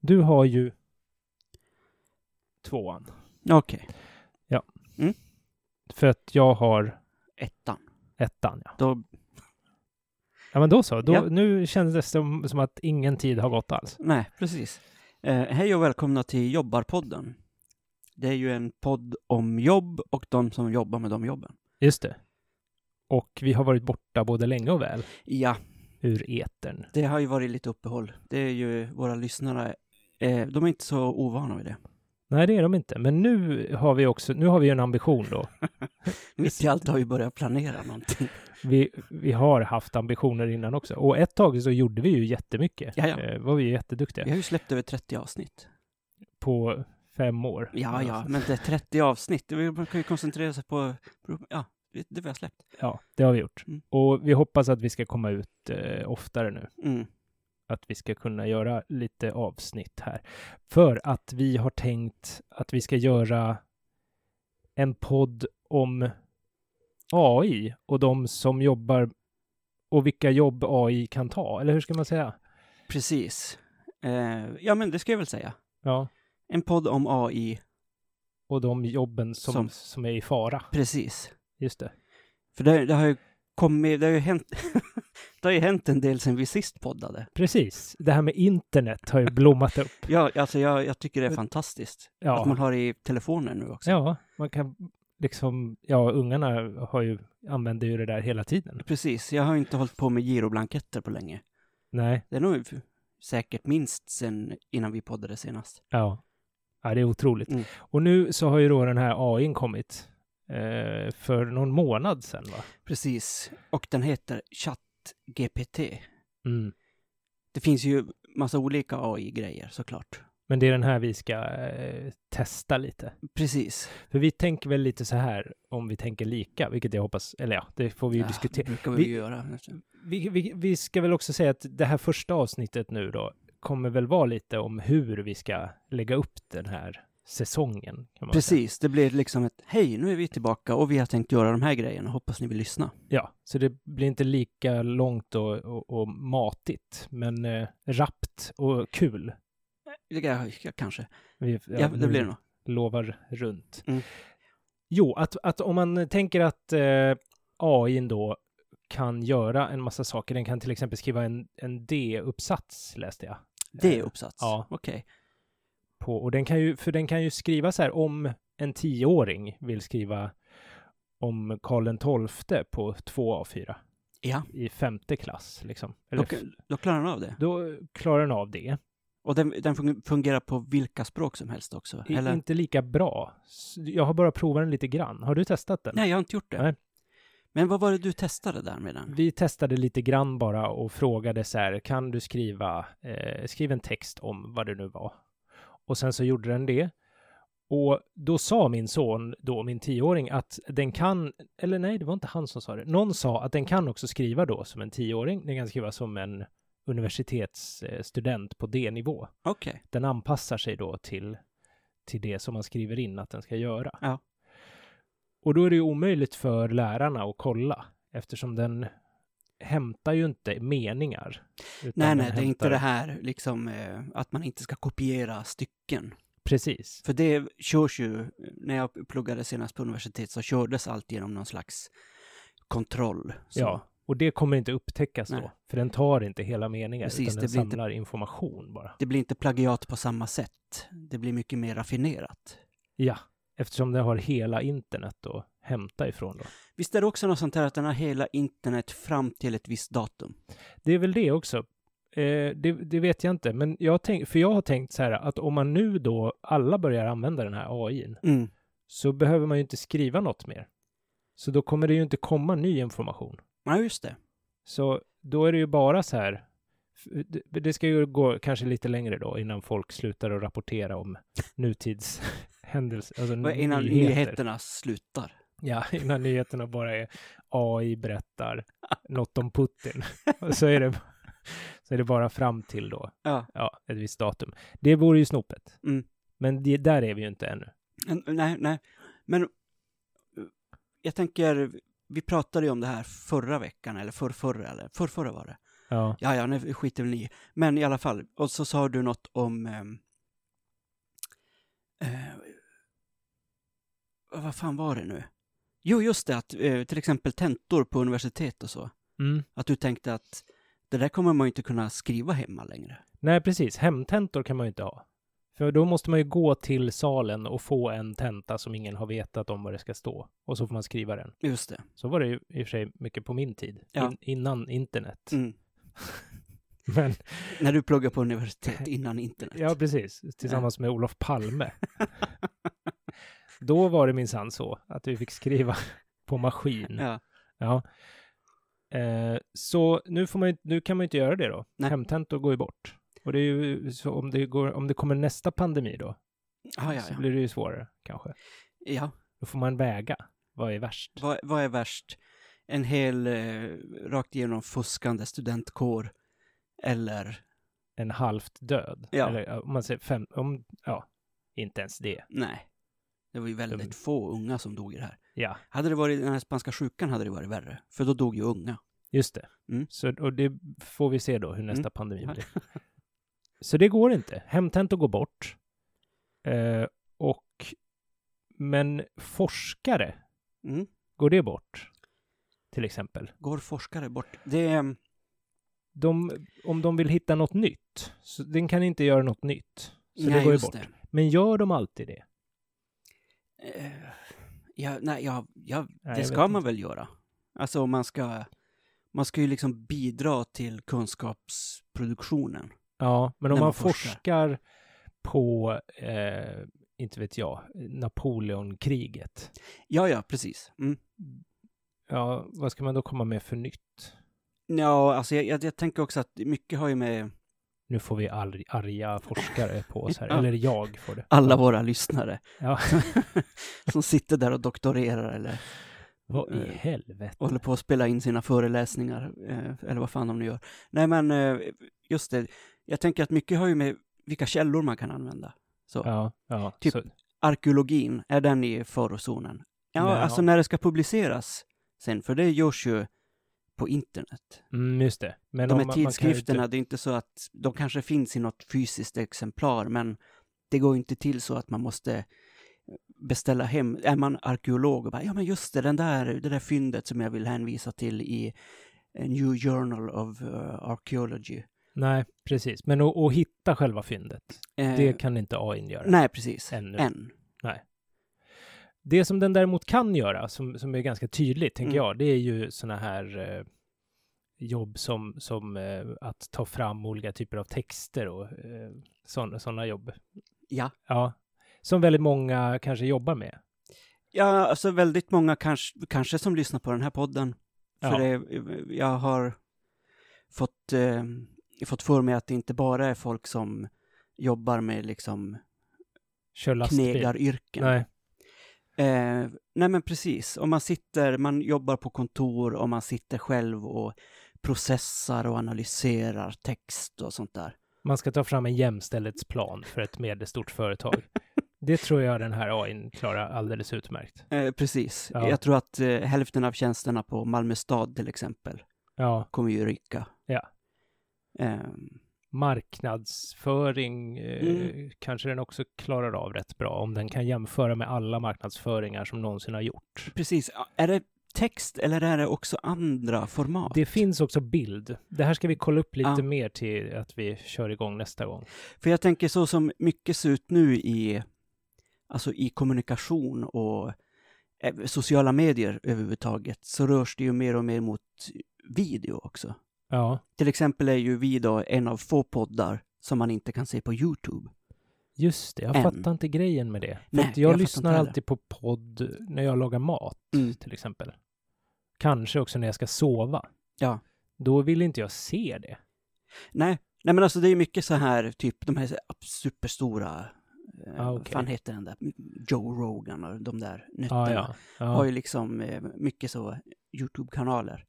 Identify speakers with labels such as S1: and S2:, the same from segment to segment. S1: Du har ju tvåan.
S2: Okej.
S1: För att jag har
S2: Ettan.
S1: ettan. Ja,
S2: Då,
S1: ja men då så. Då,
S2: Ja.
S1: Nu kändes det som, som att ingen tid har gått alls.
S2: nej, precis. Eh, hej och välkomna till Jobbarpodden. Det är ju en podd om jobb och de som jobbar med de jobben.
S1: Just det. Och vi har varit borta både länge och väl
S2: Ja,
S1: ur etern.
S2: det har ju varit lite uppehåll. Det är ju våra lyssnare, eh, de är inte så ovana vid det.
S1: Nej, det är de inte. Men nu har vi också, nu har vi ju en ambition då.
S2: Mitt i allt har vi börjat planera någonting.
S1: Vi, vi har haft ambitioner innan också. Och ett tag så gjorde vi ju jättemycket.
S2: Jaja.
S1: Eh, var vi ju jätteduktiga.
S2: Vi har ju släppt över 30 avsnitt.
S1: På fem år.
S2: Ja, ja, men det är 30 avsnitt. Det- Man kan ju koncentrera sig på, ja, det det vi har släppt.
S1: Ja, det har vi gjort.
S2: Mm.
S1: Och vi hoppas att vi ska komma ut eh, oftare nu.
S2: Mm.
S1: Att vi ska kunna göra lite avsnitt här. För att vi har tänkt att vi ska göra en podd om AI och de som jobbar och vilka jobb AI kan ta. Eller hur ska man säga?
S2: Precis. Eh, ja, men det ska jag väl säga.
S1: Ja,
S2: En podd om AI,
S1: och de jobben som, som.
S2: Som-
S1: är i fara.
S2: precis.
S1: Just det.
S2: För det, det har ju kommit, det har ju hänt, det har ju hänt en del sen vi sist poddade.
S1: Precis. Det här med internet har ju blommat upp.
S2: Ja, alltså jag, jag tycker det är fantastiskt.
S1: Ja.
S2: Att man har det i telefonen nu också.
S1: Ja, man kan liksom, ja, ungarna har ju, använder ju det där hela tiden.
S2: Precis, jag har ju inte hållit på med giroblanketter på länge.
S1: Nej,
S2: Det är nog säkert minst sen innan vi poddade senast.
S1: ja. Ja, det är otroligt.
S2: Mm.
S1: Och nu så har ju då den här AIn kommit eh, för någon månad sedan, va?
S2: Precis, och den heter ChatGPT.
S1: Mm.
S2: Det finns ju massa olika AI-grejer såklart.
S1: Men det är den här vi ska eh, testa lite.
S2: Precis.
S1: För vi tänker väl lite så här, om vi tänker lika, vilket jag hoppas, eller ja, det får vi ju diskutera.
S2: Det brukar vi,
S1: Vi-
S2: ju göra.
S1: Vi, vi, vi ska väl också säga att det här första avsnittet nu då kommer väl vara lite om hur vi ska lägga upp den här säsongen. Kan man Säga.
S2: Precis, det blir liksom ett hej, nu är vi tillbaka och vi har tänkt göra de här grejerna, hoppas ni vill lyssna.
S1: Ja, så det blir inte lika långt och, och, och matigt, men eh, rappt och kul.
S2: Ja, ja, kanske.
S1: Vi,
S2: Ja,
S1: nu
S2: det blir det nog.
S1: Lovar runt.
S2: Mm.
S1: Jo, att, att om man tänker att eh, AI då kan göra en massa saker. Den kan till exempel skriva en, en D-uppsats, läste jag.
S2: Det är uppsats.
S1: eh, ja.
S2: Okej.
S1: på. Och den kan ju, för den kan ju skriva så här om en tioåring vill skriva om Karl XII på 2 A4
S2: Ja,
S1: i femte klass liksom. Eller,
S2: då, då klarar den av det.
S1: Då klarar den av det.
S2: Och den, den fun- fungerar på vilka språk som helst också?
S1: I-
S2: Eller?
S1: Inte lika bra. S- Jag har bara provat den lite grann. Har du testat den?
S2: Nej, jag har inte gjort det.
S1: Nej.
S2: Men vad var det du testade där med den?
S1: Vi testade lite grann bara och frågade så här, kan du skriva, eh, skriv en text om vad det nu var. Och sen så gjorde den det. Och då sa min son, då min tioåring, att den kan, eller nej, det var inte han som sa det. Någon sa att den kan också skriva då som en tioåring. Den kan skriva som en universitetsstudent på D-nivå.
S2: Okej.
S1: Den anpassar sig då till, till det som man skriver in att den ska göra.
S2: Ja.
S1: Och då är det ju omöjligt för lärarna att kolla eftersom den hämtar ju inte meningar. utan
S2: Nej,
S1: den
S2: nej, det är inte
S1: hämtar-
S2: det här liksom eh, att man inte ska kopiera stycken.
S1: Precis.
S2: För det körs ju, eh, när jag pluggade senast på universitet så kördes allt genom någon slags kontroll. Så.
S1: Ja, och det kommer inte upptäckas då,
S2: Nej.
S1: för den tar inte hela meningar
S2: Precis,
S1: utan
S2: det
S1: den
S2: blir inte-
S1: samlar information bara.
S2: Det blir inte plagiat på samma sätt. Det blir mycket mer raffinerat.
S1: Ja, eftersom den har hela internet att hämta ifrån då.
S2: Visst är det också något sånt här att den har hela internet fram till ett visst datum?
S1: Det är väl det också. Eh, det, det vet jag inte, men jag tänk, för jag har tänkt så här att om man nu då alla börjar använda den här AIn
S2: Mm.
S1: så behöver man ju inte skriva något mer. Så då kommer det ju inte komma ny information.
S2: Ja, just det.
S1: Så då är det ju bara så här. f- det- Det ska ju gå kanske lite längre då innan folk slutar att rapportera om nutidshändelser. Alltså
S2: Och Innan
S1: nyheter.
S2: nyheterna slutar.
S1: Ja, innan nyheterna bara är AI berättar något om Putin. Och så är det, så är det bara fram till då,
S2: Ja.
S1: ja, ett visst datum. Det vore ju snopet.
S2: Mm.
S1: Men det, där är vi ju inte ännu.
S2: En- Nej, nej. Men eh, jag tänker, vi pratade ju om det här förra veckan, eller förrförra, eller förrförra var det.
S1: Ja.
S2: Ja, ja, nu skiter väl ni i. Men i alla fall, och så sa du något om... ehm, Eh, vad fan var det nu? Jo, just det, att eh, till exempel tentor på universitet och så.
S1: Mm.
S2: Att du tänkte att det där kommer man ju inte kunna skriva hemma längre.
S1: Nej, precis. Hemtentor kan man ju inte ha. För då måste man ju gå till salen och få en tenta som ingen har vetat om vad det ska stå. Och så får man skriva den.
S2: Just det.
S1: Så var det ju i och för sig mycket på min tid.
S2: Ja.
S1: In, innan internet.
S2: Mm.
S1: Men,
S2: När du pluggade på universitet innan internet.
S1: ja, precis. Tillsammans med Olof Palme. då var det minsann så att vi fick skriva på maskin.
S2: Ja.
S1: Ja. Eh, så nu, får man ju, nu kan man ju inte göra det då.
S2: Nej.
S1: Hemtentor går ju bort. Och det är ju så om det, går, om det kommer nästa pandemi då,
S2: Ah, ja,
S1: så
S2: ja.
S1: blir det ju svårare kanske.
S2: ja.
S1: Då får man väga. Vad är värst?
S2: Vad, vad är värst? En hel eh, rakt igenom fuskande studentkår eller
S1: En halvt död?
S2: Ja.
S1: Eller ja, om man säger fem, om, ja, inte ens det.
S2: nej. Det var ju väldigt
S1: Mm.
S2: få unga som dog i det här.
S1: Ja,
S2: Hade det varit den här spanska sjukan hade det varit värre, för då dog ju unga.
S1: just det.
S2: Mm.
S1: Så, och det får vi se då hur nästa
S2: Mm.
S1: pandemi
S2: Ja.
S1: blir. Så det går inte. Hemtentor går bort. Eh, och, men forskare,
S2: Mm.
S1: går det bort? Till exempel.
S2: Går forskare bort? Mm. Det är,
S1: de, om de vill hitta något nytt, så den kan inte göra något nytt. Så
S2: nej,
S1: det går ju
S2: just
S1: bort. Men gör de alltid det?
S2: det. Eh, ja, nej, ja, ja,
S1: Nej,
S2: det
S1: jag
S2: ska
S1: vet
S2: man
S1: inte.
S2: väl göra. Alltså man ska, man ska ju liksom bidra till kunskapsproduktionen.
S1: Ja, men om
S2: När
S1: man,
S2: man
S1: forskar,
S2: forskar.
S1: på, eh, inte vet jag, Napoleonkriget.
S2: Ja, ja, precis. Mm.
S1: Ja, vad ska man då komma med för nytt?
S2: Ja, alltså jag, jag, jag tänker också att mycket har ju med
S1: Nu får vi arg, arga forskare på oss här,
S2: Ja.
S1: eller jag får det.
S2: alla våra lyssnare
S1: Ja,
S2: som sitter där och doktorerar eller
S1: vad i
S2: Eh,
S1: helvete.
S2: håller på att spela in sina föreläsningar eh, eller vad fan de nu gör. Nej, men eh, just det. Jag tänker att mycket har ju med vilka källor man kan använda. Så
S1: Ja, ja.
S2: Typ-
S1: Så,
S2: arkeologin, är den i farozonen? Ja,
S1: Nej,
S2: alltså
S1: ja.
S2: när det ska publiceras sen, för det görs ju på internet.
S1: mm, just det. Men
S2: De
S1: om man-
S2: här
S1: man kan ju inte-
S2: tidskrifterna, det är inte så att de kanske finns i något fysiskt exemplar, men det går ju inte till så att man måste beställa hem. Är man arkeolog och bara, ja men just det, den där, det där fyndet som jag vill hänvisa till i eh, New Journal of eh, Archaeology.
S1: Nej, precis. Men att att hitta själva fyndet,
S2: Eh,
S1: det kan inte AI göra.
S2: Nej, precis.
S1: Ännu.
S2: Än.
S1: Det som den däremot kan göra, som, som är ganska tydligt, tänker
S2: Mm.
S1: jag, det är ju sådana här eh, jobb som, som eh, att ta fram olika typer av texter och eh, sådana jobb.
S2: Ja.
S1: Ja, som väldigt många kanske jobbar med.
S2: Ja, alltså väldigt många kanske, kanske som lyssnar på den här podden.
S1: Ja.
S2: För det, jag har fått, eh, fått för mig att det inte bara är folk som jobbar med liksom
S1: Kör lastbil.
S2: knegaryrken.
S1: Nej,
S2: Eh, nej men precis, om man sitter, man jobbar på kontor och man sitter själv och processar och analyserar text och sånt där.
S1: man ska ta fram en jämställdhetsplan för ett medelstort företag. Det tror jag den här AI klarar alldeles utmärkt.
S2: Eh, precis,
S1: Ja.
S2: jag tror att eh, hälften av tjänsterna på Malmö stad till exempel
S1: Ja,
S2: kommer ju ryka.
S1: Ja.
S2: Ehm,
S1: marknadsföring eh,
S2: Mm.
S1: kanske den också klarar av rätt bra om den kan jämföra med alla marknadsföringar som någonsin har gjorts.
S2: precis, Ja, är det text eller är det också andra format?
S1: Det finns också bild. Det här ska vi kolla upp lite
S2: Ja.
S1: mer till att vi kör igång nästa gång.
S2: För jag tänker så som mycket ser ut nu i, alltså i kommunikation och eh, sociala medier överhuvudtaget, så rörs det ju mer och mer mot video också.
S1: Ja,
S2: Till exempel är ju vi då en av få poddar som man inte kan se på YouTube.
S1: just det. Jag
S2: Än.
S1: fattar inte grejen med det. För
S2: Nej,
S1: att jag,
S2: jag fattar
S1: lyssnar
S2: inte heller.
S1: alltid på podd när jag lagar mat,
S2: Mm.
S1: till exempel. Kanske också när jag ska sova.
S2: Ja.
S1: Då vill inte jag se det.
S2: Nej, nej men alltså det är mycket så här, typ de här så här superstora, eh,
S1: Ah,
S2: vad
S1: okej.
S2: fan heter den där, Joe Rogan och de där nötterna.
S1: Ah, Ja, ja.
S2: Har
S1: ja.
S2: ju liksom eh, mycket så YouTube-kanaler.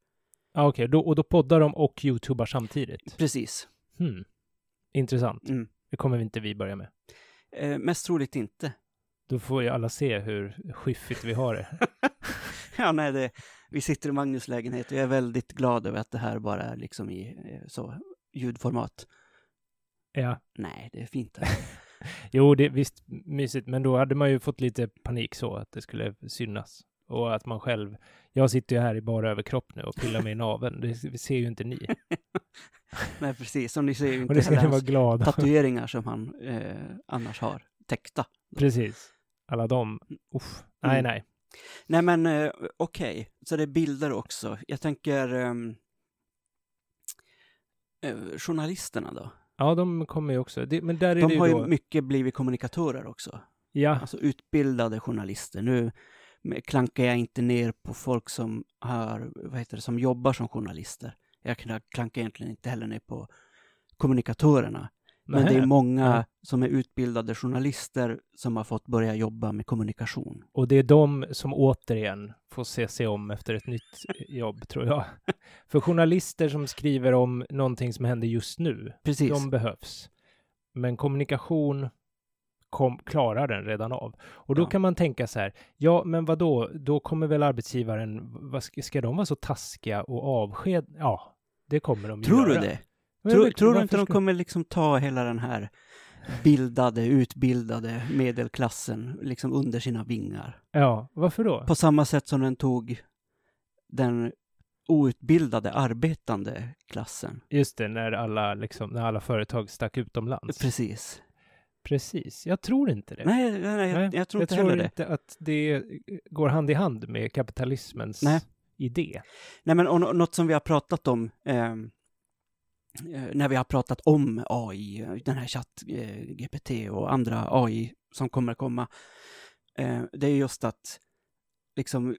S1: ja Ah, okej. Då, och då poddar de och youtubar samtidigt.
S2: Precis.
S1: Hmm. Intressant.
S2: Mm.
S1: Det kommer vi inte vi börja med.
S2: Eh, mest troligt inte.
S1: Då får ju alla se hur skiffigt vi har det.
S2: Ja, nej, det, Vi sitter i Magnus lägenhet och jag är väldigt glad över att det här bara är liksom i eh, så, ljudformat.
S1: Ja.
S2: Nej, det är fint.
S1: Jo, det, visst, mysigt, men då hade man ju fått lite panik så att det skulle synas. Och att man själv, jag sitter ju här i bara överkropp nu och pillar mig i naveln, det ser ju inte ni.
S2: Nej, precis. Som ni ser ju
S1: Och
S2: inte
S1: det ska
S2: heller
S1: ni vara
S2: hans
S1: glada
S2: tatueringar som han eh, annars har täckta.
S1: Precis. Alla de, uff. Nej,
S2: Mm.
S1: nej.
S2: Nej, men eh, okej. Så det är bilder också. Jag tänker ehm, eh, journalisterna då.
S1: Ja, de kommer ju också. Det, men där är det
S2: De
S1: ju
S2: har
S1: då,
S2: ju mycket blivit kommunikatörer också.
S1: ja,
S2: Alltså utbildade journalister. Nu klankar jag inte ner på folk som, har, vad heter det, som jobbar som journalister. Jag kna- klankar egentligen inte heller ner på kommunikatörerna. Men det är
S1: nähä.
S2: många
S1: Ja.
S2: som är utbildade journalister som har fått börja jobba med kommunikation.
S1: Och det är de som återigen får se sig om efter ett nytt jobb, tror jag. För journalister som skriver om någonting som händer just nu,
S2: Precis.
S1: de behövs. Men kommunikation kom, klarar den redan av. Och då
S2: Ja.
S1: kan man tänka så här, ja, men vad då? Då kommer väl arbetsgivaren, vad ska, ska de vara så taskiga och avsked? Ja, det kommer de ju
S2: Tror du
S1: göra.
S2: det?
S1: Men
S2: Tror,
S1: varför
S2: tror du inte
S1: ska-
S2: de kommer liksom ta hela den här bildade, utbildade medelklassen liksom under sina vingar?
S1: Ja, varför då?
S2: På samma sätt som den tog den outbildade arbetande klassen.
S1: Just det, när alla, liksom, när alla företag stack utomlands.
S2: Precis.
S1: Precis. Jag tror inte det.
S2: Nej, nej, nej,
S1: Nej,
S2: jag, jag tror inte heller det.
S1: inte att det eh, går hand i hand med kapitalismens
S2: Nej.
S1: idé.
S2: Nej, men och, nå- något som vi har pratat om ehm, eh, när vi har pratat om AI, eh, den här chatt eh, GPT och andra AI som kommer komma, eh, det är just att liksom,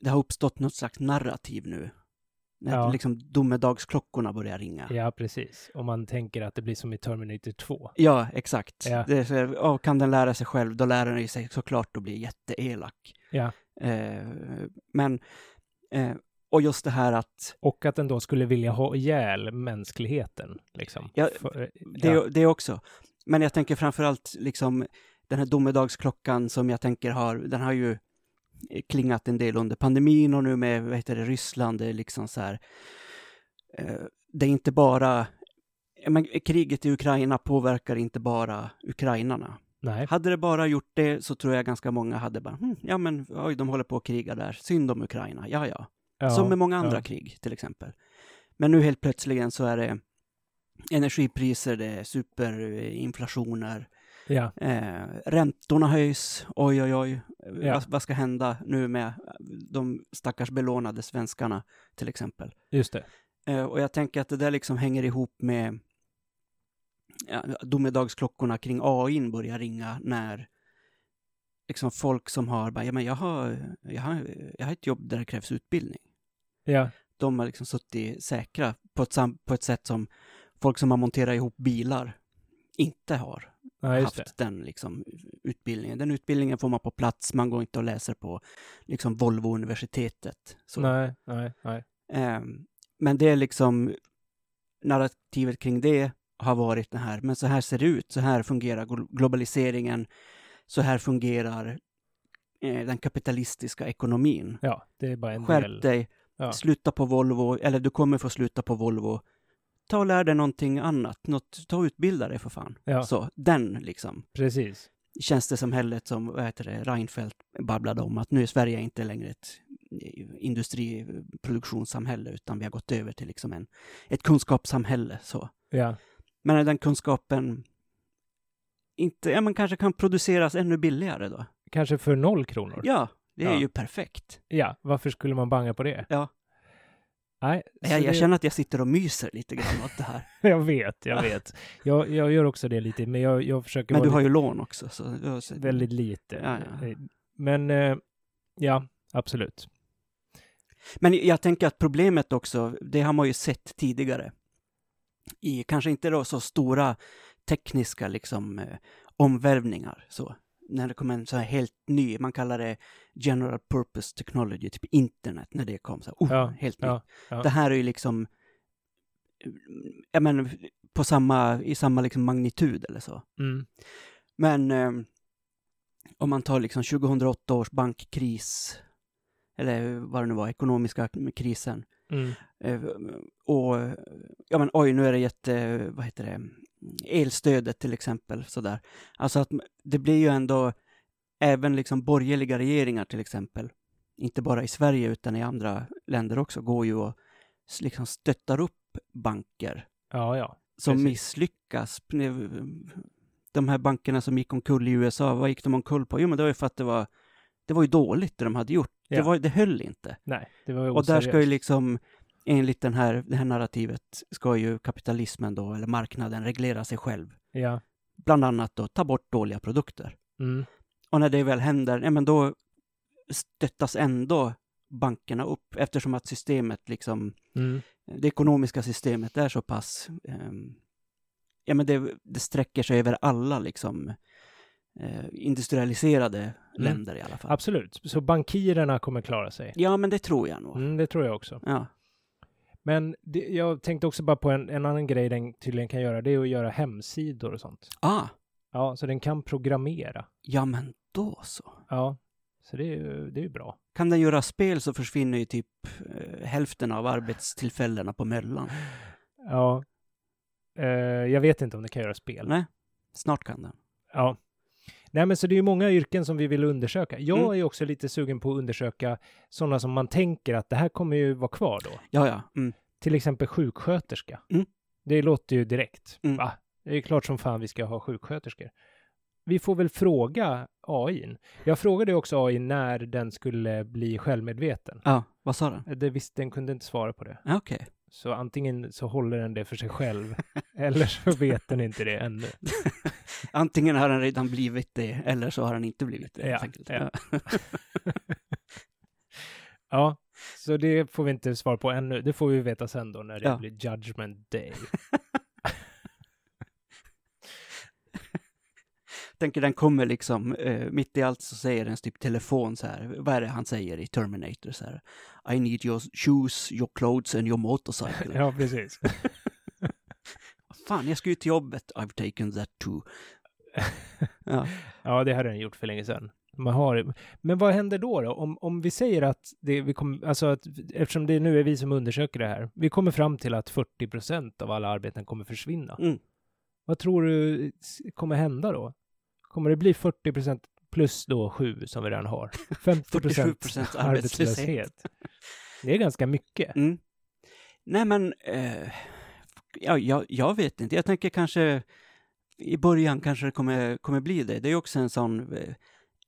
S2: det har uppstått något slags narrativ nu. När
S1: Ja.
S2: liksom domedagsklockorna börjar ringa.
S1: Ja, precis. Om man tänker att det blir som i Terminator 2.
S2: Ja, exakt.
S1: Ja.
S2: Det är så, här, ja, kan den lära sig själv, då lär den ju sig såklart att bli jätteelak.
S1: Ja.
S2: Eh, men, eh, och just det här att
S1: Och att den då skulle vilja ha ihjäl mänskligheten. Liksom.
S2: Ja,
S1: För,
S2: Det,
S1: ja.
S2: det också. Men jag tänker framförallt liksom den här domedagsklockan som jag tänker har, den har ju eh, klingat en del under pandemin och nu med, vad heter det, Ryssland, det är liksom så här, eh, det är inte bara, ja, men kriget i Ukraina påverkar inte bara ukrainarna.
S1: Nej,
S2: Hade det bara gjort det så tror jag ganska många hade bara, hm, ja men oj, de håller på att kriga där, synd om Ukraina, ja ja.
S1: ja,
S2: Som med många andra
S1: ja.
S2: krig till exempel. Men nu helt plötsligen så är det energipriser, det är superinflationer,
S1: Ja,
S2: eh, räntorna höjs, oj oj oj,
S1: Ja.
S2: vad, vad ska hända nu med de stackars belånade svenskarna till exempel.
S1: just det.
S2: Eh, och jag tänker att det där liksom hänger ihop med ja, domedagsklockorna kring AI börjar ringa när liksom folk som har bara, ja men jag har, jag har, jag har ett jobb där det krävs utbildning
S1: Ja,
S2: de har liksom suttit säkra på ett, sam- på ett sätt som folk som har monterat ihop bilar inte har
S1: ja just
S2: haft
S1: det.
S2: den liksom utbildningen. Den utbildningen får man på plats, man går inte och läser på liksom Volvo-universitetet. Så.
S1: Nej, nej, nej.
S2: Ehm, men det är liksom narrativet kring det har varit det här, men så här ser det ut, så här fungerar glo- globaliseringen, så här fungerar eh, den kapitalistiska ekonomin.
S1: Ja, det är bara en del.
S2: Skärp dig,
S1: Ja.
S2: sluta på Volvo, eller du kommer få sluta på Volvo. Ta och lär dig någonting annat, något, ta och utbilda dig för fan.
S1: Ja,
S2: Så, den liksom,
S1: precis.
S2: tjänstesamhället som, vad heter det, Reinfeldt babblade om, att nu är Sverige inte längre ett eh, industriproduktionssamhälle, utan vi har gått över till liksom en, ett kunskapssamhälle. Så.
S1: Ja,
S2: Men är den kunskapen inte, ja, man kanske kan produceras ännu billigare då.
S1: kanske för noll kronor.
S2: Ja, det är
S1: Ja.
S2: ju perfekt.
S1: Ja, varför skulle man banga på det?
S2: Ja.
S1: Nej, så
S2: Jag, jag
S1: det-
S2: känner att jag sitter och myser lite grann åt det här.
S1: Jag vet, jag vet. Jag, jag gör också det lite, men jag, jag försöker
S2: Men
S1: vara
S2: du har ju lån också. Så du har sett-
S1: lite, väldigt lite.
S2: Ja, ja.
S1: Eh, Men eh, ja, absolut.
S2: Men jag tänker att problemet också, det har man ju sett tidigare. I kanske inte då så stora tekniska liksom, eh, omvälvningar. Så. När det kom en så här helt ny, man kallar det general purpose technology, typ internet, när det kom. Så, här, oh,
S1: Ja,
S2: helt nytt.
S1: ja, ja.
S2: Det här är ju liksom, jag menar, på samma, i samma liksom magnitud eller så. ehm,
S1: Mm.
S2: Men eh, om man tar liksom 2008 års bankkris, eller vad det nu var, ekonomiska krisen.
S1: Mm.
S2: Eh, och ja men oj, nu är det jätte, vad heter det, elstödet till exempel sådär. Alltså att det blir ju ändå även liksom borgerliga regeringar till exempel, inte bara i Sverige utan i andra länder också, går ju och s- liksom stöttar upp banker
S1: Ja, ja.
S2: som
S1: Precis.
S2: misslyckas. eh, De här bankerna som gick omkull i USA, vad gick de omkull på? Jo, men det var ju för att det var, det var ju dåligt det de hade gjort. Det,
S1: Ja.
S2: var, det höll inte.
S1: Nej, det var ju
S2: Och där ska ju
S1: oseriöst.
S2: liksom, enligt den här, det här narrativet, ska ju kapitalismen då, eller marknaden, reglera sig själv.
S1: Ja.
S2: Bland annat då ta bort dåliga produkter.
S1: Mm.
S2: Och när det väl händer, ja men då stöttas ändå bankerna upp eftersom att systemet liksom,
S1: Mm.
S2: det ekonomiska systemet är så pass, ehm, ja men det, det sträcker sig över alla liksom eh, industrialiserade
S1: Mm.
S2: länder i alla fall.
S1: Absolut. Så bankirerna kommer klara sig.
S2: Ja men det tror jag nog.
S1: Mm, det tror jag också.
S2: Ja.
S1: Men det, jag tänkte också bara på en, en annan grej den tydligen kan göra. Det är att göra hemsidor och sånt.
S2: Ah,
S1: Ja, så den kan programmera.
S2: ja men då så.
S1: Ja, så det är ju det är ju bra.
S2: Kan den göra spel så försvinner ju typ eh, hälften av arbetstillfällena på Möllan.
S1: Ja. Eh, jag vet inte om det kan göra spel.
S2: Nej, snart kan den.
S1: Ja. Nej, men så det är ju många yrken som vi vill undersöka. Jag
S2: Mm.
S1: är ju också lite sugen på att undersöka sådana som man tänker att det här kommer ju vara kvar då.
S2: Ja, ja. Mm.
S1: Till exempel sjuksköterska.
S2: Mm.
S1: Det låter ju direkt.
S2: Mm.
S1: Va? Det är ju klart som fan vi ska ha sjuksköterskor. Vi får väl fråga AIn. Jag frågade ju också AI när den skulle bli självmedveten. Eh,
S2: Ja, vad sa den?
S1: Det visst, den kunde inte svara på det.
S2: Ja, Okej.
S1: Så antingen så håller den det för sig själv eller så vet den inte det ännu.
S2: Antingen har han redan blivit det, eller så har han inte blivit det.
S1: Ja,
S2: helt enkelt.
S1: ja. Ja, så det får vi inte svar på ännu. Det får vi veta sen då när det
S2: Ja.
S1: blir judgment day.
S2: tänker den kommer liksom, eh, mitt i allt så säger den typ telefon så här, vad är det han säger i Terminator så här, I need your shoes, your clothes and your motorcycle.
S1: Ja, precis.
S2: Fan, jag ska ju till jobbet, I've taken that too. ja.
S1: Ja, det hade den gjort för länge sedan. Man har, men vad händer då? då? Om, om vi säger att, det, vi kom, alltså att, eftersom det nu är vi som undersöker det här, vi kommer fram till att 40 procent av alla arbeten kommer försvinna.
S2: Mm.
S1: Vad tror du s- kommer hända då? Kommer det bli 40 procent plus då 7 som vi redan har? 50
S2: 47
S1: procent
S2: procent arbetslöshet.
S1: arbetslöshet. Det är ganska mycket.
S2: Mm. Nej men, eh, ja, jag, jag vet inte, jag tänker kanske i början kanske det kommer, kommer bli det. Det är ju också en sån eh,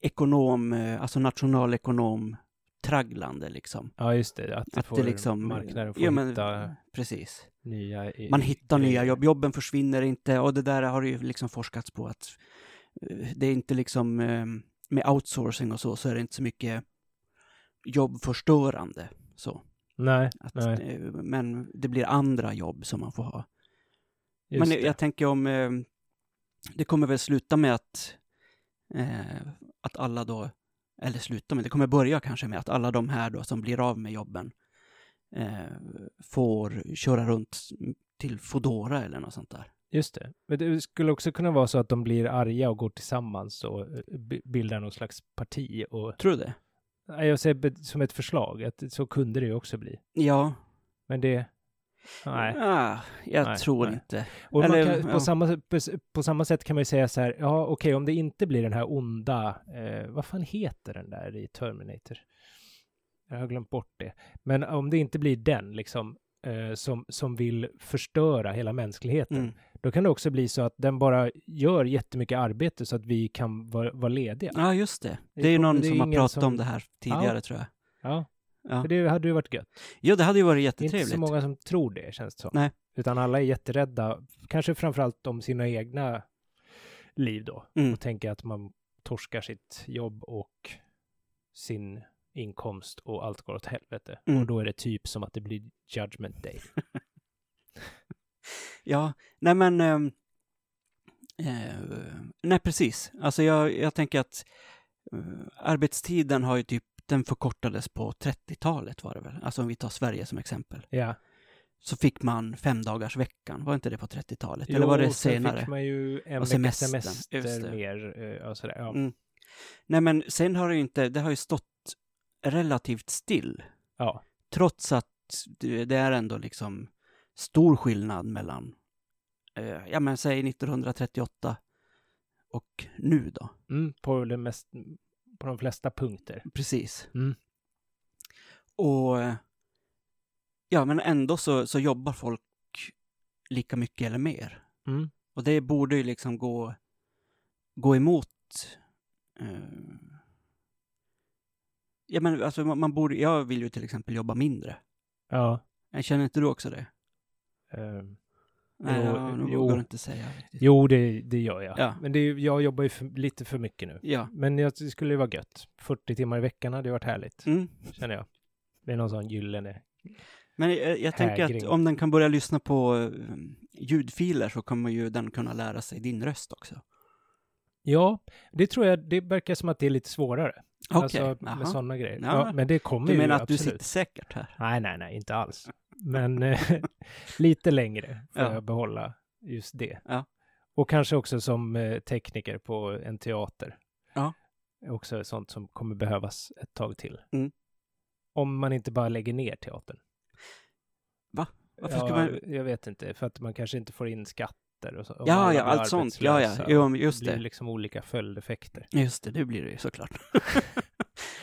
S2: ekonom, eh, alltså nationalekonom tragglande liksom.
S1: Ja, just det. Att, det
S2: Att
S1: får
S2: det liksom...
S1: marknaden får
S2: ja, men,
S1: hitta
S2: Precis.
S1: nya... i-
S2: Man hittar nya
S1: grejer.
S2: jobb, jobben försvinner inte och det där har ju liksom forskats på att eh, det är inte liksom eh, med outsourcing och så, så är det inte så mycket jobbförstörande så.
S1: Nej,
S2: Att,
S1: Nej.
S2: eh, men det blir andra jobb som man får ha.
S1: just
S2: men
S1: det.
S2: jag tänker om eh, det kommer väl sluta med att eh, att alla då, eller sluta med, det kommer börja kanske med att alla de här då som blir av med jobben eh, får köra runt till Fodora eller något sånt där.
S1: Just det. Men det skulle också kunna vara så att de blir arga och går tillsammans och eh, bi- bildar någon slags parti. Och,
S2: Tror du det?
S1: Nej, jag säger be- som ett förslag, att så kunde det ju också bli.
S2: Ja.
S1: Men det... Nej.
S2: Ah, jag
S1: Nej,
S2: tror
S1: nej.
S2: inte.
S1: Och man
S2: Eller,
S1: kan, på,
S2: ja.
S1: samma, sätt- på, s- på samma sätt kan man ju säga så här, ja okej, om det inte blir den här onda, eh, vad fan heter den där i Terminator? Jag har glömt bort det. Men om det inte blir den liksom, eh, som, som vill förstöra hela mänskligheten,
S2: Mm.
S1: då kan det också bli så att den bara gör jättemycket arbete så att vi kan vara, vara lediga.
S2: Ja, just det.
S1: Det
S2: Det är ju
S1: kommer-
S2: någon
S1: det är
S2: som har
S1: ingen
S2: pratat
S1: som-
S2: om det här tidigare, tror jag.
S1: Ja,
S2: Ja.
S1: för det hade ju varit gött.
S2: ja, det hade ju varit
S1: Det är inte
S2: jättetrevligt.
S1: så många som tror det, känns det som.
S2: Nej.
S1: Utan alla är jätterädda, kanske framförallt om sina egna liv då.
S2: Mm.
S1: Och tänker att man torskar sitt jobb och sin inkomst och allt går åt helvete.
S2: Mm.
S1: Och då är det typ som att det blir judgment day.
S2: Ja, nej men... ehm, eh, nej, precis. Alltså jag, jag tänker att eh, arbetstiden har ju typ, den förkortades på 30-talet var det väl? Alltså om vi tar Sverige som exempel.
S1: Ja.
S2: Så fick man fem dagars veckan. var inte det på 30-talet? Eller var det
S1: och sen
S2: senare?
S1: fick man ju en vecka
S2: Och semestern,
S1: semester
S2: just det.
S1: mer. eh, Och sådär. Ja.
S2: Mm. Nej men sen har det ju inte, det har ju stått relativt still.
S1: Ja.
S2: Trots att det det är ändå liksom stor skillnad mellan, eh, ja men säg 1938 och nu då.
S1: Mm, på, det mest, på de flesta punkter.
S2: Precis.
S1: Mm.
S2: Och eh, ja, men ändå så, så jobbar folk lika mycket eller mer.
S1: Mm.
S2: Och det borde ju liksom gå, gå emot... Eh, ja, men alltså man, man borde... Jag vill ju till exempel jobba mindre.
S1: Ja.
S2: Jag Känner inte du också det?
S1: ehm,
S2: Nej,
S1: Jo,
S2: jag, nu
S1: jo.
S2: vågar jag inte säga riktigt.
S1: jo, det, det gör jag.
S2: Ja.
S1: Men det, är- jag jobbar ju för, lite för mycket nu.
S2: Ja.
S1: Men jag, det skulle ju vara gött. 40 timmar i veckan hade ju varit härligt,
S2: Mm.
S1: känner jag. Det är någon sån gyllene...
S2: Men eh, jag, jag tänker att
S1: Hägring.
S2: om den kan börja lyssna på eh, ljudfiler så kommer ju den kunna lära sig din röst också.
S1: Ja, det tror jag, det verkar som att det är lite svårare.
S2: Okej,
S1: alltså,
S2: jaha.
S1: med sådana grejer.
S2: Ja.
S1: Ja, men det kommer
S2: Du
S1: ju
S2: menar att du
S1: absolut.
S2: sitter säkert här?
S1: Nej, nej, nej, inte alls. Men eh, lite längre får
S2: Ja.
S1: jag behålla just det.
S2: Ja.
S1: Och kanske också som eh, tekniker på en teater.
S2: Ja.
S1: Också sånt som kommer behövas ett tag till.
S2: Mm.
S1: Om man inte bara lägger ner teatern.
S2: Varför
S1: ja,
S2: ska man...
S1: Jag vet inte, för att man kanske inte får in skatter och så. och alla
S2: Ja,
S1: blir
S2: ja, allt sånt. Ja, ja,
S1: arbetslösa.
S2: jo, men just
S1: det blir
S2: det.
S1: liksom olika följdeffekter.
S2: Just det, det blir det ju såklart.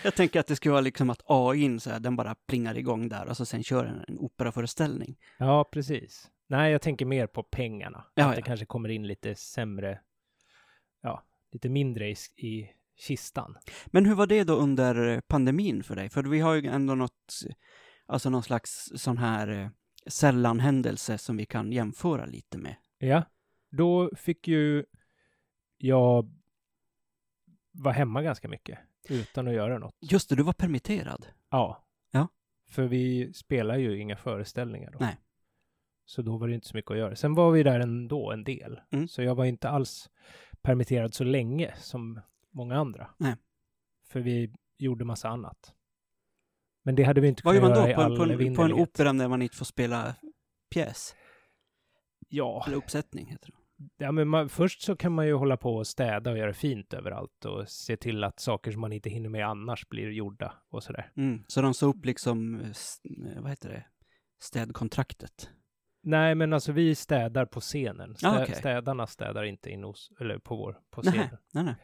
S2: jag tänker att det skulle vara liksom att AIn så här, den bara plingar igång där och så sen kör den en operaföreställning.
S1: Ja, precis. Nej, jag tänker mer på pengarna.
S2: Ja,
S1: att det
S2: ja.
S1: kanske kommer in lite sämre, ja, lite mindre i, s- i kistan.
S2: Men hur var det då under pandemin för dig? För vi har ju ändå något, alltså någon slags sån här eh, sällanhändelse som vi kan jämföra lite med.
S1: Ja, då fick ju jag vara hemma ganska mycket utan att göra något.
S2: Just det, du var permitterad.
S1: Ja.
S2: Ja.
S1: För vi spelar ju inga föreställningar då.
S2: Nej.
S1: Så då var det inte så mycket att göra. Sen var vi där ändå en del.
S2: Mm.
S1: Så jag var inte alls permitterad så länge som många andra.
S2: Nej.
S1: För vi gjorde massa annat. Men det hade vi inte
S2: Vad
S1: kunnat
S2: gör man då
S1: göra
S2: på
S1: i all
S2: en, på, en, på en
S1: evinnerlighet.
S2: opera när man inte får spela pjäs?
S1: Ja,
S2: Eller uppsättning heter det.
S1: ja men man, först så kan man ju hålla på och städa och göra fint överallt och se till att saker som man inte hinner med annars blir gjorda och sådär.
S2: Mm. Så de sa upp liksom, eh, s- eh, vad heter det, städkontraktet.
S1: Nej, men alltså vi städar på scenen. Stä,
S2: Ah, okej.
S1: Städarna städar inte in hos, eller på vår, på
S2: Nej.
S1: scenen.
S2: Nej, nej.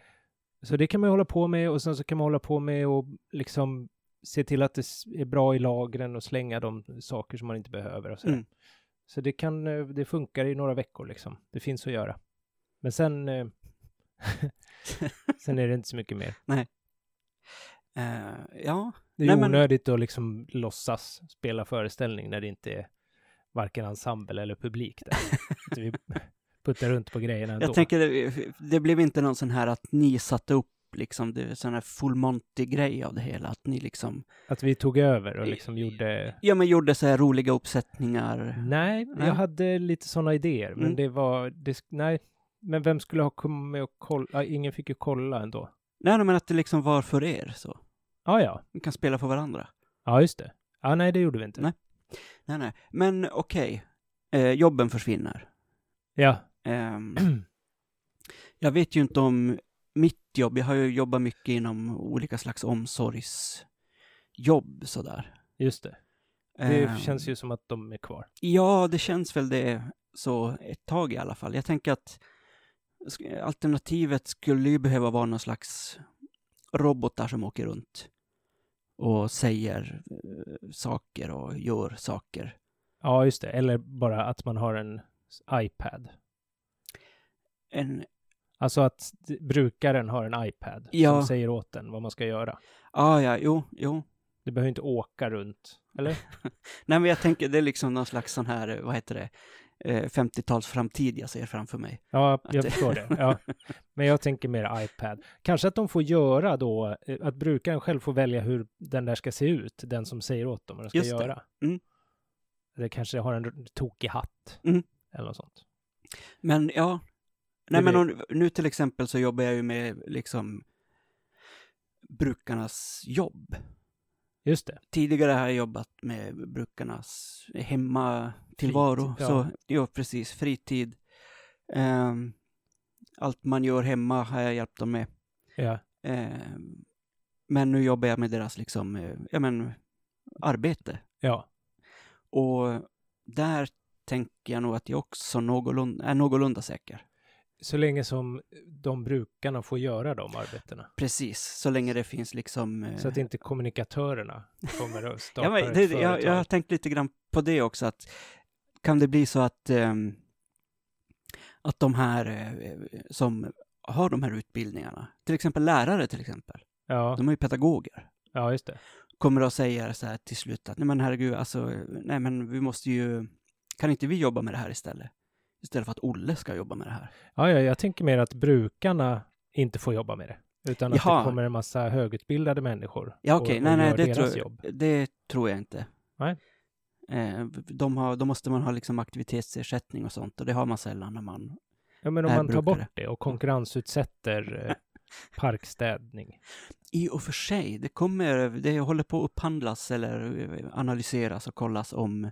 S1: Så det kan man ju hålla på med och sen så kan man hålla på med och liksom se till att det s- är bra i lagren och slänga de saker som man inte behöver och sådär.
S2: Mm.
S1: Så det kan, eh, det funkar i några veckor liksom. Det finns att göra. Men sen, eh, sen är det inte så mycket mer.
S2: Eh, ja,
S1: Det är
S2: Nej,
S1: ju
S2: men-
S1: onödigt att liksom låtsas spela föreställning när det inte är varken ensemble eller publik där. Så vi puttar runt på grejerna ändå.
S2: jag tänker det, det blev inte någon sån här att ni satte upp liksom, det, sån här full Monty-grej av det hela, att ni liksom,
S1: Att vi tog över och liksom gjorde
S2: ja men gjorde så här roliga uppsättningar.
S1: Nej,
S2: Nej.
S1: jag hade lite sådana idéer, men
S2: Mm.
S1: det var... Det, sk- nej, men vem skulle ha kommit och kolla? Ja, ingen fick ju kolla ändå.
S2: Nej, nej, men att det liksom var för er så.
S1: Ja, ja.
S2: Ni kan spela för varandra.
S1: Ja, just det. Ja, nej, det gjorde vi inte.
S2: Nej. Nej, nej. Men okej, eh, jobben försvinner.
S1: Ja,
S2: Ehm, jag vet ju inte om mitt jobb, jag har ju jobbat mycket inom olika slags omsorgsjobb sådär.
S1: just det. Det
S2: Ehm,
S1: känns ju som att de är kvar.
S2: Ja, det känns väl det så ett tag i alla fall. Jag tänker att sk- alternativet skulle ju behöva vara någon slags robotar som åker runt och säger eh, saker och gör saker.
S1: Ja, just det. Eller bara att man har en s- iPad.
S2: En,
S1: Alltså att s- brukaren har en iPad
S2: Ja.
S1: som säger åt den vad man ska göra.
S2: ah, ja, jo, jo.
S1: Du behöver inte åka runt, eller?
S2: Nej, men jag tänker det är liksom någon slags sån här, eh, vad heter det, eh, 50-tals framtid jag ser framför mig.
S1: Ja, jag
S2: det-
S1: förstår det. Ja. Men jag tänker mer iPad. Kanske att de får göra då, eh, att brukaren själv får välja hur den där ska se ut, den som säger åt dem vad den ska
S2: Just det.
S1: göra.
S2: Mm.
S1: Eller kanske har en r- tokig hatt.
S2: Mm.
S1: Eller något sånt.
S2: Men ja, nej
S1: Det
S2: men
S1: blir-
S2: om, nu till exempel så jobbar jag ju med liksom brukarnas jobb.
S1: Just det.
S2: Tidigare har jag jobbat med brukarnas hemmatillvaro.
S1: Fritid, ja.
S2: Så, ja, precis, fritid. Ehm, allt man gör hemma har jag hjälpt dem med.
S1: Ja.
S2: Ehm, Men nu jobbar jag med deras liksom, eh, ja men, arbete.
S1: Ja,
S2: Och där tänker jag nog att jag också någorlunda, är någorlunda säker.
S1: så länge som de brukarna får göra de arbetena.
S2: Precis, så länge det finns liksom... eh,
S1: Så att inte kommunikatörerna kommer att starta
S2: ja, men, det,
S1: ett
S2: jag,
S1: företag.
S2: jag har tänkt lite grann på det också, att kan det bli så att, ehm, att de här eh, som har de här utbildningarna, till exempel lärare till exempel,
S1: ja,
S2: de är ju pedagoger,
S1: ja, just det.
S2: kommer att säga så här till slut att nej men herregud, alltså, nej men vi måste ju, kan inte vi jobba med det här istället? Istället för att Olle ska jobba med det här.
S1: Ja, ja, jag tänker mer att brukarna inte får jobba med det, utan att
S2: Jaha.
S1: det kommer en massa högutbildade människor
S2: Ja, okej.
S1: och,
S2: Nej,
S1: och
S2: nej,
S1: gör
S2: det
S1: deras
S2: tror-
S1: jobb.
S2: Det tror jag inte.
S1: Nej.
S2: Eh, de har, då måste man ha liksom aktivitetsersättning och sånt och det har man sällan när man
S1: Ja, men om
S2: är
S1: man tar
S2: brukare. Mm.
S1: bort det och konkurrensutsätter eh, parkstädning.
S2: I och för sig, det kommer, det håller på att upphandlas eller eh, analyseras och kollas om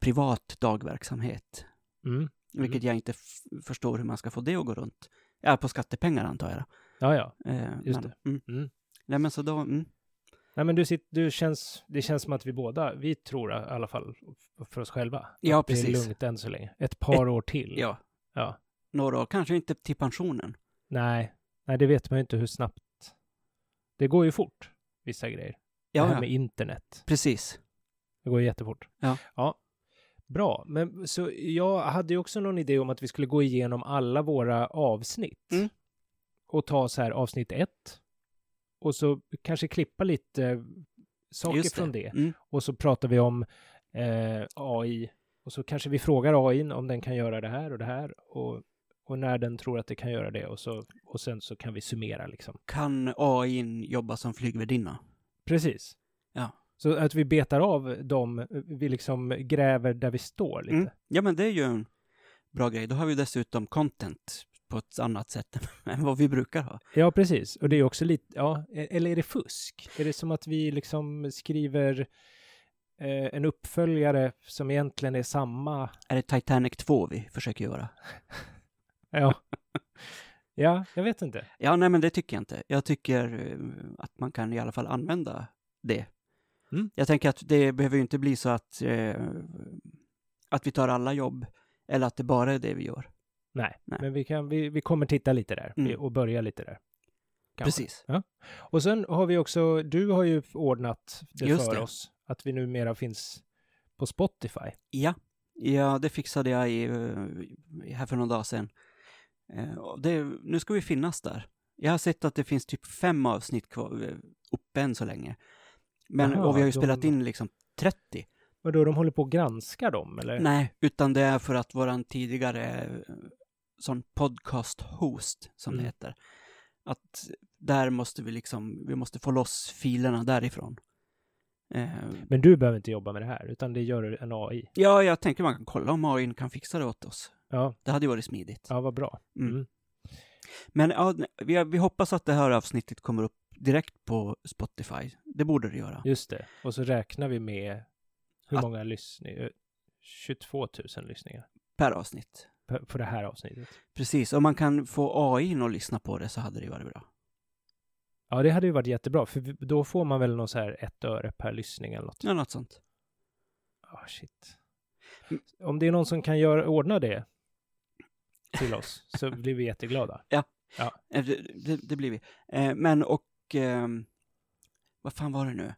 S2: privat dagverksamhet.
S1: Mm.
S2: Vilket jag inte f- förstår hur man ska få det att gå runt. Ja, på skattepengar antar jag.
S1: Ja, ja.
S2: Eh,
S1: Just
S2: men, Mm.
S1: Mm.
S2: Nej, men så då, mm.
S1: Nej, men du, sit, du känns, det känns som att vi båda, vi tror i alla fall f- för oss själva.
S2: Ja,
S1: att det är
S2: precis.
S1: lugnt än så länge. Ett par år till.
S2: ja,
S1: Ja.
S2: några år, kanske inte till pensionen.
S1: Nej, nej, det vet man ju inte hur snabbt. Det går ju fort, vissa grejer. det
S2: Ja,
S1: här
S2: ja.
S1: med internet.
S2: precis.
S1: Det går jättefort.
S2: Ja.
S1: Bra, men så jag hade ju också någon idé om att vi skulle gå igenom alla våra avsnitt
S2: Mm.
S1: och ta så här avsnitt ett och så kanske klippa lite saker
S2: Just
S1: från det
S2: Mm.
S1: och så pratar vi om eh, AI och så kanske vi frågar AI n om den kan göra det här och det här och, och när den tror att det kan göra det och så och sen så kan vi summera liksom.
S2: Kan AI jobba som flygvärdinna?
S1: Precis.
S2: Ja.
S1: Så att vi betar av dem, vi liksom gräver där vi står lite.
S2: Mm. Ja, men det är ju en bra grej. Då har vi dessutom content på ett annat sätt än vad vi brukar ha.
S1: Ja, precis. Och det är också lite, ja, e- eller är det fusk? Är det som att vi liksom skriver eh, en uppföljare som egentligen är samma?
S2: Är det Titanic 2 vi försöker göra?
S1: Ja, ja jag vet inte.
S2: Ja, nej, men det tycker jag inte. Jag tycker eh, att man kan i alla fall använda det.
S1: Mm.
S2: Jag tänker att det behöver ju inte bli så att, eh, att vi tar alla jobb eller att det bara är det vi gör.
S1: Nej,
S2: Nej.
S1: men vi, kan, vi, vi kommer titta lite där
S2: Mm.
S1: och börja lite där. Kanske.
S2: Precis.
S1: Och sen har vi också, du har ju ordnat det
S2: Just
S1: för
S2: det.
S1: oss, att vi numera finns på Spotify.
S2: Ja, ja det fixade jag i, eh, här för någon dag sedan. Eh, och Det, nu ska vi finnas där. Jag har sett att det finns typ fem avsnitt kvar, eh, uppe än så länge. Men,
S1: Jaha,
S2: och vi har ju
S1: de-
S2: spelat in liksom 30.
S1: Och då de håller på att granska dem, eller?
S2: Nej, utan det är för att våran tidigare eh, sån podcast host, som
S1: Mm.
S2: det heter, att där måste vi liksom, vi måste få loss filerna därifrån. Eh,
S1: Men du behöver inte jobba med det här, utan det gör en AI.
S2: ja, jag tänker man kan kolla om AI kan fixa det åt oss.
S1: Ja,
S2: Det hade ju varit smidigt.
S1: ja vad bra.
S2: Mm.
S1: Mm.
S2: Men ja, vi, vi hoppas att det här avsnittet kommer upp direkt på Spotify. Det borde det göra.
S1: Just det. Och så räknar vi med hur
S2: Att-
S1: många lyssningar? 22 000 lyssningar
S2: Per avsnitt.
S1: på- på det här avsnittet.
S2: Precis, om man kan få AI att lyssna på det så hade det ju varit bra.
S1: Ja, det hade ju varit jättebra, för vi- då får man väl någon så här ett öre per lyssning eller något.
S2: Ja, något sånt.
S1: Ah, shit. Om det är någon som kan göra, ordna det till oss så blir vi jätteglada.
S2: Eh, Det, det, det blir vi. Eh, Men och... ehm, vad fan var det nu?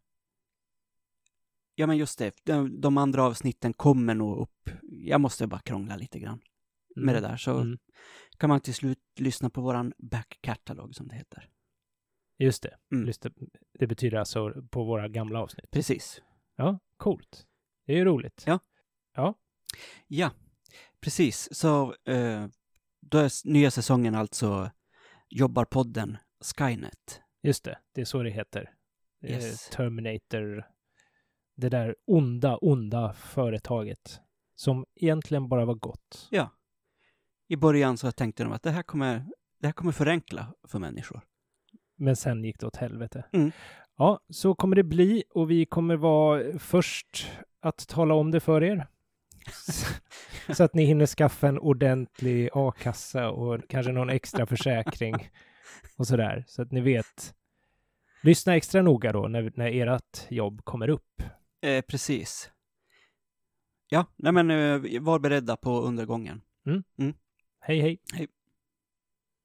S2: Ja, men just det. De, de andra avsnitten kommer nog upp. Jag måste bara krångla lite grann
S1: Mm.
S2: med det där. Så
S1: Mm.
S2: kan man till slut lyssna på våran backkatalog som det heter.
S1: Just det.
S2: Mm.
S1: Just det. Det betyder alltså på våra gamla avsnitt.
S2: Precis.
S1: Ja, coolt. Det är ju roligt.
S2: Ja. Ja, precis. Så eh, då är s- nya säsongen alltså Jobbarpodden Skynet.
S1: Just det, det är så det heter. Det är
S2: Yes.
S1: Terminator, det där onda, onda företaget som egentligen bara var gott.
S2: I början så tänkte de att det här kommer, det här kommer förenkla för människor.
S1: Men sen gick det åt helvete.
S2: Mm.
S1: Ja, så kommer det bli och vi kommer vara först att tala om det för er. så att ni hinner skaffa en ordentlig a-kassa och kanske någon extra försäkring och sådär. Så att ni vet. Lyssna extra noga då när, när ert jobb kommer upp.
S2: Eh, precis. Ja, nej men eh, var beredda på undergången.
S1: Hej, hej.
S2: Hej.